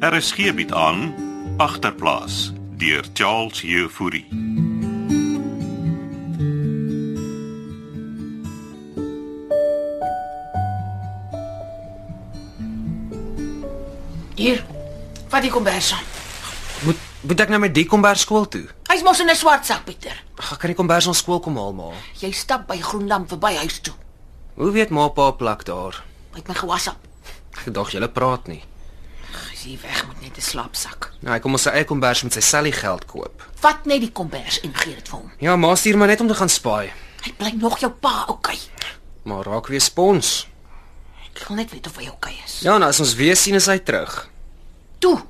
RSG bied Er aan agterplaas deur Charles Jefouri. Hier. Vat die kombers saam. Moet moet ek nou met die kombers skool toe? Hy's mos in 'n swart sak, Pieter. Ag, kan die kombers ons skool kom haal, ma? Jy stap by Groendam verby huis toe. Hoe weet ma pa plak daar? Hy het my gewasap. Ek dink julle praat nie. Hy's hier weg met net 'n slaapsak. Nou, hy kom ons sy eie kombers met sy sellie geld koop. Vat net die kombers en gee dit vir hom. Ja, ma stuur maar net om te gaan spaai. Hy bly nog jou pa, okay. Maar raak weer spons. Ek wil net weet of hy okay is. Ja, nou as ons weer sien is hy terug. Toe.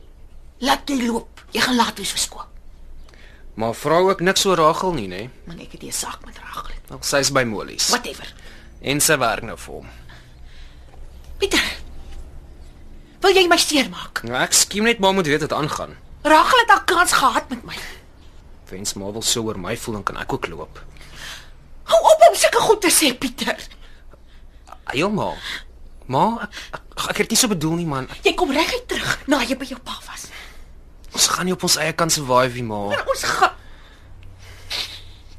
Laat jy loop. Jy gaan laat wees vir skool. Maar vra ook niks oor Ragel nie, nee. nê? Maar ek het hier 'n saak met Ragel. Nou, sy's by Molies. Whatever. En sy werk nou vir hom. Pieter. Wil jy my seermaak? Nou, ek skiem net maar moet weet wat aangaan. Ragel het haar kans gehad met my. Wens ma wil so oor my voel dan kan ek ook loop. Hou op om sulke goed te sê, Pieter. Heelmal. Ma, ek, ek, ek het nie so bedoel nie, man. Jy kom reguit terug na jy by jou pa was. Ons gaan nie op ons eie kan survive nie, ma. En ons Nou, gaan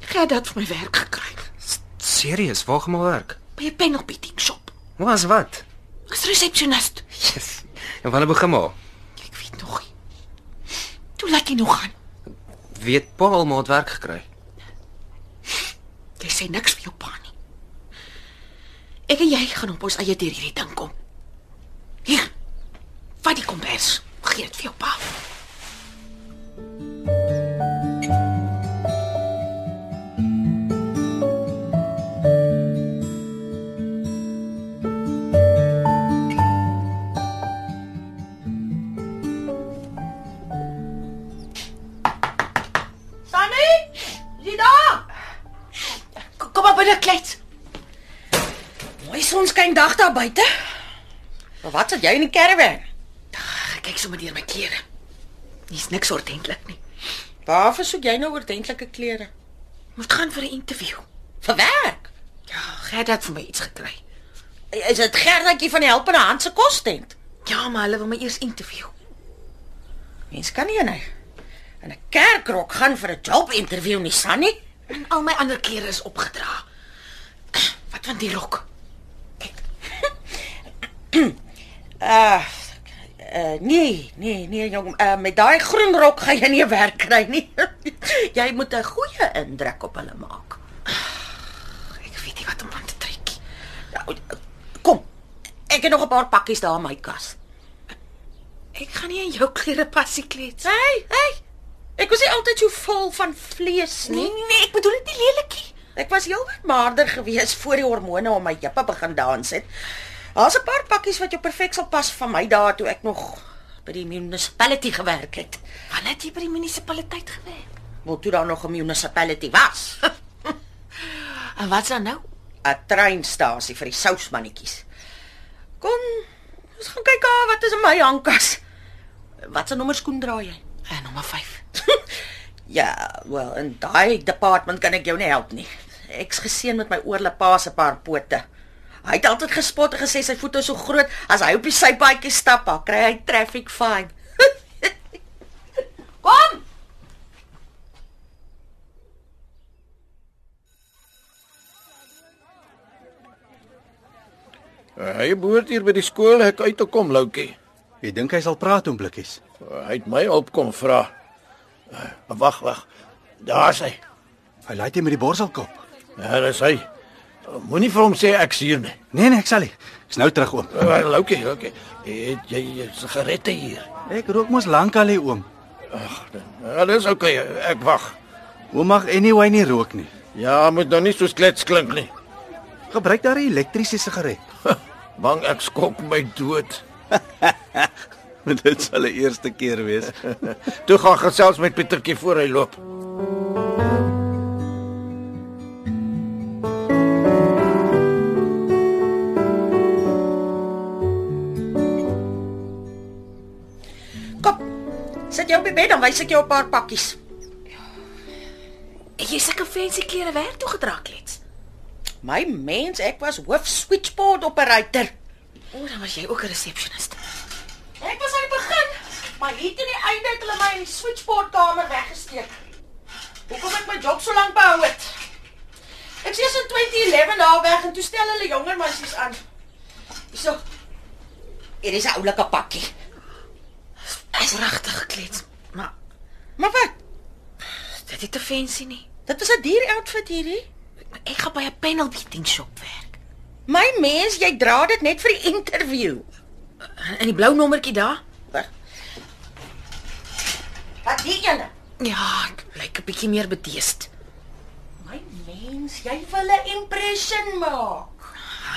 Gaan dit vir my werk gekry. Serius, waar gaan my werk? By 'n panel beating shop. Was wat? Ek's resepsionis. Yes. En wanneer begin maar? Ek weet nog nie. Toe laat jy nog gaan. Weet Paul maar het werk gekry. Jy sê niks vir jou pa nie. Ek en jy gaan op ons eie deur hierdie ding kom. Hier. Vat die kombers. Gee dit vir jou pa. Sunny? Jy daar? Kom maar binne klets. Mooi sonskyn dag daar buite. Maar wat sit jy in die caravan? Ek kyk sommer deur my klere. Hier's niks ordentlik nie. Waarvoor soek jy nou oordentlike klere? Moet gaan vir 'n onderhoud. Vir werk. Ja, Gerda het vir my iets gekry. Is dit Gerdatjie van die Helpende Hand se kostent? Ja, maar hulle wil my eers onderhoud. Mens kan nie in 'n in 'n kerkrok gaan vir 'n job onderhoud nie, Sunny. En al my ander klere is opgedra. Wat van die rok? Uh, uh nee, nee, nee jong, uh, met daai groen rok gaan jy nie werk kry nie. jy moet 'n goeie indruk op hulle maak. Ek weet nie wat om aan te trek nie. Nou, Kom. Ek het nog 'n paar pakkies daar in my kas. Ek gaan nie in jou klere pas nie, klets. Hey, hey. Ek was nie altyd so vol van vlees nie. nee, ek bedoel dit nie lelikie. Ek was heelwat maarder gewees voor die hormone om my heupe begin dans het. Daar's 'n paar pakkies wat jou perfek sal pas van my dae toe ek nog by die municipality gewerk het. Wanneer het jy by die munisipaliteit gewerk? Wel toe daar nog 'n municipality was. En wat's dan nou? 'n Treinstasie vir die sousmannetjies. Kom, ons gaan kyk ah, wat is in my handkas. Wat se nommer skoen dra jy? En Eh, nommer 5. Ja, wel, in daai departement kan ek jou nie help nie. Ek's geseën met my oorlepa se paar pote. Hy het altyd gespot en gesê sy voete is so groot as hy op die sypaadjie stap, dan kry hy traffic fine. Kom! Uh, Hy behoort hier by die skool hek uit te kom, Loukie. Jy dink hy sal praat om blikkies. Uh, Hy het my opkom vra. Uh, Wag, wag. Daar's hy. Hy laai dit met die borselkop. Daar is hy. Uh, Moenie vir hom sê ek is hier nie. Nee nee, ek sal nie. Ek's nou terug oom. Uh, Loukie, Loukie. Het jy jou sigarette hier? Ek rook mos lank al hier oom. Ja, dis oké. Okay. Ek wag. Oom mag anyway nie rook nie. Ja, moet nou nie so klets klink nie. Gebruik daar 'n elektriese sigaret. Bang ek skok my dood. Want dit sal die eerste keer wees. Toe gaan gesels met Pietertjie voor hy loop. Kom. Sit jou op die bed dan wys ek jou 'n paar pakkies. Jy het sulke fancy klere werk toe gedra, klets. My mens, ek was hoof switchboard operator. O, dan was jy ook 'n resepsionis. Ek was aan die begin. Maar hier teen die einde het hulle my in die switchboardkamer weggesteek. Hoekom ek my job so lank behou het? Ek sies in 2011 daar weg en toe stel hulle jonger meisies aan. So. Hier is 'n oulike pakkie. Hy's regtig gekleed, maar Maar wat? dit is te fancy nie. Dit was 'n duur outfit hierdie. Maar Ek gaan by 'n panel beating shop werk. My mens, jy dra dit net vir die interview. In die blou nommertjie daar? Wag. Wat die ene? Ja, ek lyk 'n bietjie meer bedeesd. My mens, jy wil 'n impression maak.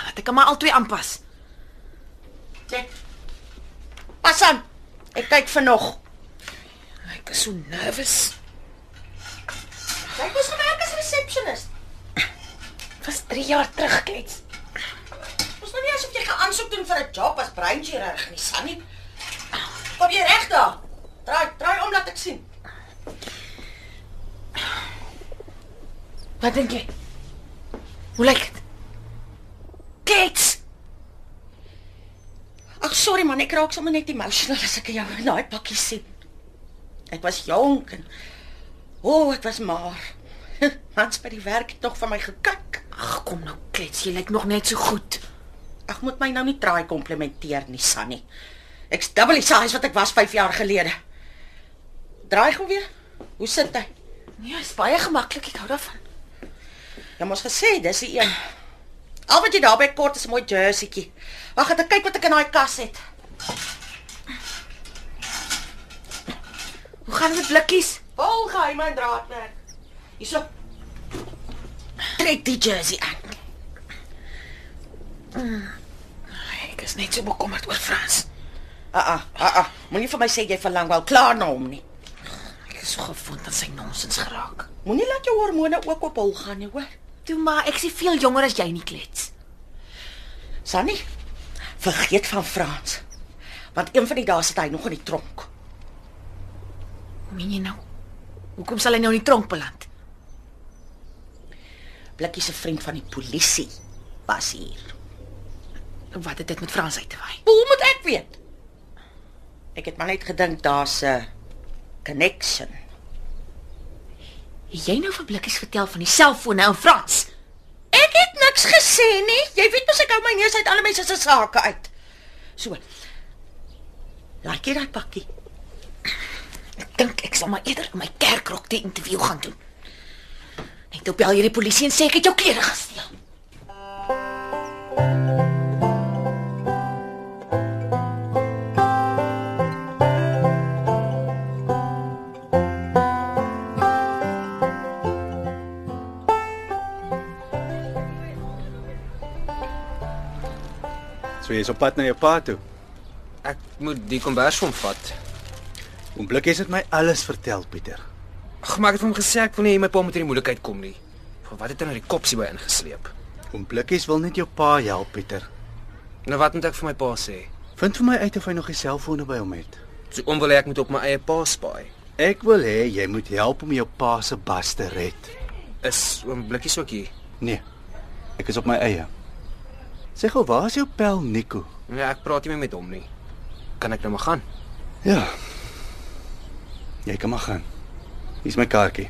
Laat ek hom maar albei aanpas. Dit. Pas aan. Ek kyk vir nog. Ek is so nervus. Jy moes gewerk as receptionist. Was 3 jaar terug klets. Ons nou nie asof jy gaan aansoek doen vir 'n job as breinchirurg nie, Sannie. Kom jy reg daar? Draai, draai om laat ek sien. Wat dink jy? Hoe lyk dit? Klets. Ag sorry man, ek raak sommer net emotional as ek jou in daai pakkie sien. Ek was jonk en o, oh, ek was maar. Mans by die werk het nog van my gekik. Ag, kom nou klets, jy lyk nog net so goed. Ag moet my nou nie traai komplimenteer nie, Sannie. Ek's double die size wat ek was 5 jaar gelede. Draai gou weer. Hoe sit hy? Nee, is baie gemaklik, ek hou daarvan. Jy mos gesê dis die een. Al wat jy daarby kort is 'n mooi jerseytjie. Wag, het ek kyk wat ek in daai kas het. Hoe gaan dit met blikkies? Vol geheime en draadwerk. Hierso. Trek die jersey aan. Ek is net so bekommerd oor Frans. Ah ah, ah ah. Moenie vir my sê jy verlang wel klaar na hom nie. Ek is so gewoond aan sy nonsens geraak. Moenie laat jou hormone ook op hol gaan nie, hoor. Toe maar, ek is veel jonger as jy nie klets. Sannie, vergeet van Frans. Want een van die dae sit hy nog in die tronk. Meen jy nou? Hoekom sal hy nou in die tronk beland? Blikkie se vriend van die polisie was hier. Wat het dit met Frans uit te waai? Hoe moet ek weet? Ek het maar net gedink daar's 'n connection. Het jy nou vir blikkies vertel van die selfone in Frans? Ek het niks gesê nie. Jy weet mos ek hou my neus uit alle mense se sake uit. So. Laat jy daai pakkie. Ek dink ek sal maar eerder in my kerkrok die onderhoud gaan doen. Net op bel hierdie polisie en sê ek het jou klere gesteel. So jy's op pad na jou pa toe. Ek moet die kombers van vat. Oom Blikkies het my alles vertel, Pieter. Ag, maar ek het vir hom gesê ek wil nie hê my pa moet in die moeilikheid kom nie. Van wat het hy nou die kopsie by ingesleep? Oom Blikkies wil net jou pa help, Pieter. Nou wat moet ek vir my pa sê? Vind vir my uit of hy nog die selfone by hom het. So oom wil hê ek moet op my eie pa spaai. Ek wil hê jy moet help om jou pa se bas te red. Is oom blikkies ook hier? Nee. Ek is op my eie. Sê gou, waar is jou pel Nico? Nee, ek praat nie meer met hom nie. Kan ek nou maar gaan? Ja. Jy kan maar gaan. Hier's my kaartjie.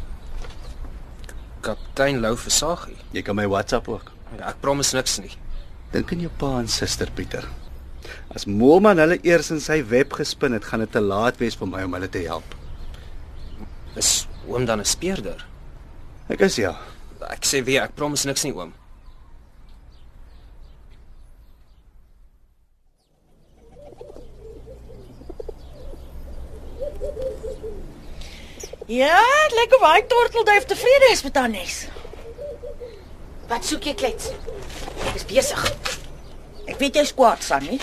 Kaptein Lou Versagie. Jy kan my WhatsApp ook. Ja, ek promise niks nie. Dink aan jou pa en suster Pieter. As Moelman hulle eers in sy web gespin het, gaan dit te laat wees vir my om hulle te help. Is oom dan 'n speurder? Ek is ja. Ek sê weer, ek promise niks nie oom. Ja, dit lyk of hy tortelduif tevrede is met haar nes. Wat soek jy klets? Ek is besig. Ek weet jy's kwaad, Sannie.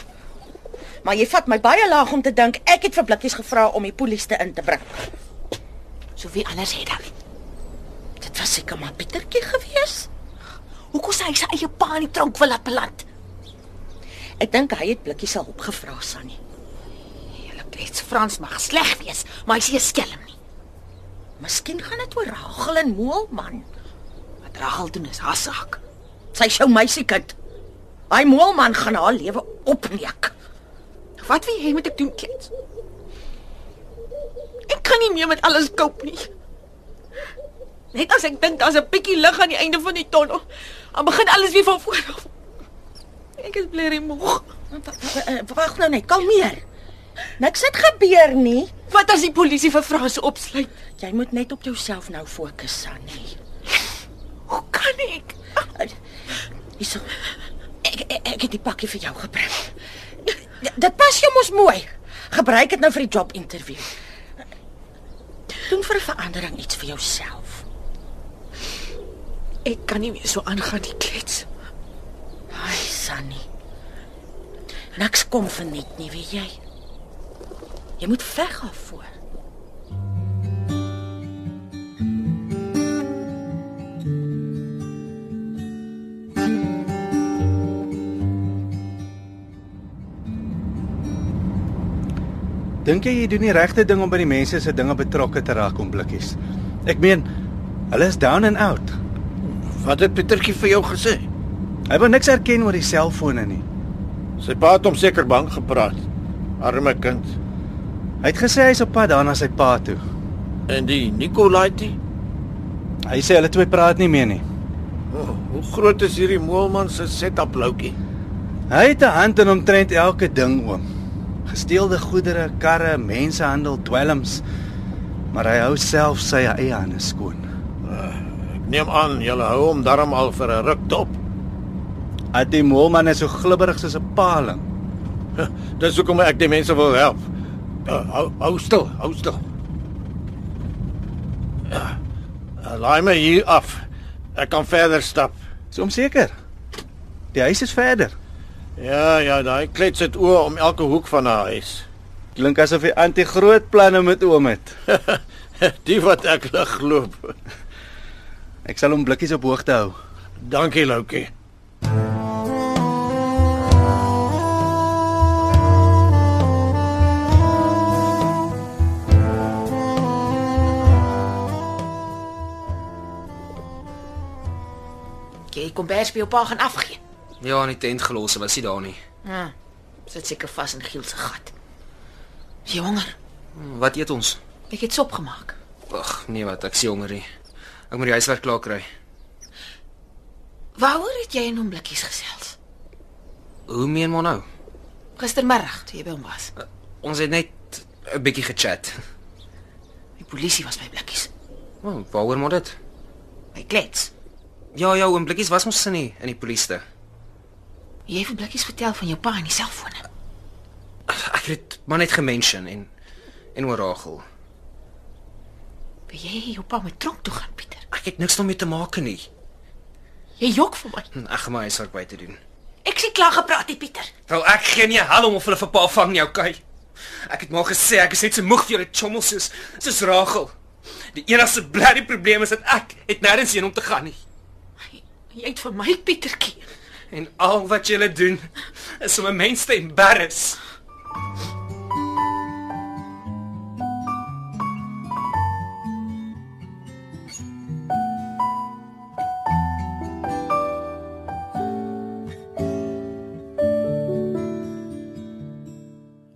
Maar jy vat my baie laag om te dink ek het vir blikkies gevra om die polisie in te bring. So wie anders het dit? Dit was seker maar Pietertjie gewees. Hoekom sê hy sy eie pa in die tronk wil laat beland? Ek dink hy het blikkies se hulp gevra, Sannie. Julle klets Frans mag sleg wees, maar hy's nie 'n skelm nie. Miskien gaan dit oor Ragel en Moelman. Wat Ragel doen is haar saak. Sy sou meisiekind. Hy Moelman gaan haar lewe opneek. Wat wil jy moet ek doen klets? kan nie meer met alles cope nie. Net as ek dink daar's 'n bietjie lig aan die einde van die tonnel, dan begin alles weer van voor af. Ek is blerrie moeg. eh, Wag nou net, kalmeer. Niks het gebeur nie. Wat as die polisie vir Frans opsluit? Jy moet net op jouself nou fokus, Sunny. Hoe kan ek? Hierso. Ek, ek ek het die pakkie vir jou gebring. D dit pas jou mos mooi. Gebruik dit nou vir die job onderhoud. Doen vir 'n verandering iets vir jouself. Ek kan nie meer so aangaan die klets. Ai, Sunny. Niks kom verniet nie, weet jy. Jy moet veg daarvoor. Dink jy jy doen die regte ding om by die mense se dinge betrokke te raak om blikkies? Ek meen, hulle is down and out. Wat het Pietertjie vir jou gesê? Hy wil niks erken oor die selfone nie. Sy pa het hom seker bang gepraat. Arme kind. Hy het gesê hy's op pad daarna sy pa toe. En die Nicolaitie? Hy sê hulle twee praat nie meer nie. Oh, hoe groot is hierdie moelman se setup loutjie? Hy het 'n hand in omtrent elke ding oom. Gesteelde goedere, karre, mensehandel, dwelms. Maar hy hou self sy eie hande skoon. Ek neem aan jy hou hom darm al vir 'n ruk dop. Atie Moelman is so glibberig soos 'n paling. Dis hoekom ek die mense wil help. Uh, hou, hou stil, hou stil. Uh, laai my hier af. Ek kan verder stap. Soms seker. Die huis is verder. Ja, ja, daai klets het oë om elke hoek van haar huis. Klink asof hy anti-groot planne met oom het. Die wat ek lig loop. Ek sal hom blikkies op hoogte hou. Dankie, Loukie. Jy kom bers by jou pa gaan afgee. Ja, in die tent gelos, hy was nie daar nie. Ja. Sit seker vas in Giel se gat. Is Jy honger. Hm, Wat eet ons? Ek het sop gemaak. Ag, nee wat, ek sien honger nie. Ek moet die huiswerk klaar kry. Waaroor het jy en hom blikkies gesels? Hoe meen maar nou? Gistermiddag toe jy by hom was. Ons het net 'n bietjie gechat. Die polisie was by blikkies. Oh, waaroor moet dit? By klets. Ja, ja, oom Blikkies was mos sin nie in die polisie. Jy het vir blikkies vertel van jou pa en die selfone. Ek het dit maar net gemention en en oor Rachel. Wil jy jou pa met tronk toe gaan, Pieter? Ek het niks daarmee te maak nie. Jy jok vir my. Hm, Ek gaan my huiswerk by te doen. Ek sê klaar gepraat, hè, Pieter. Wel ek gee nie 'n hel om of hulle vir pa vang nie, okay? Ek het maar gesê ek is net so moeg vir julle chommels soos soos Rachel. Die enigste blerrie probleem is dat ek het nêrens heen om te gaan nie. Jy, jy het vir my Pietertjie. En al wat julle doen is om 'n mens te embarrass.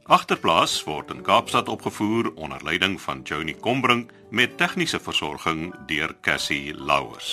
Agterplaas word in Kaapstad opgevoer onder leiding van Johnny Combrink met tegniese versorging deur Cassie Louws.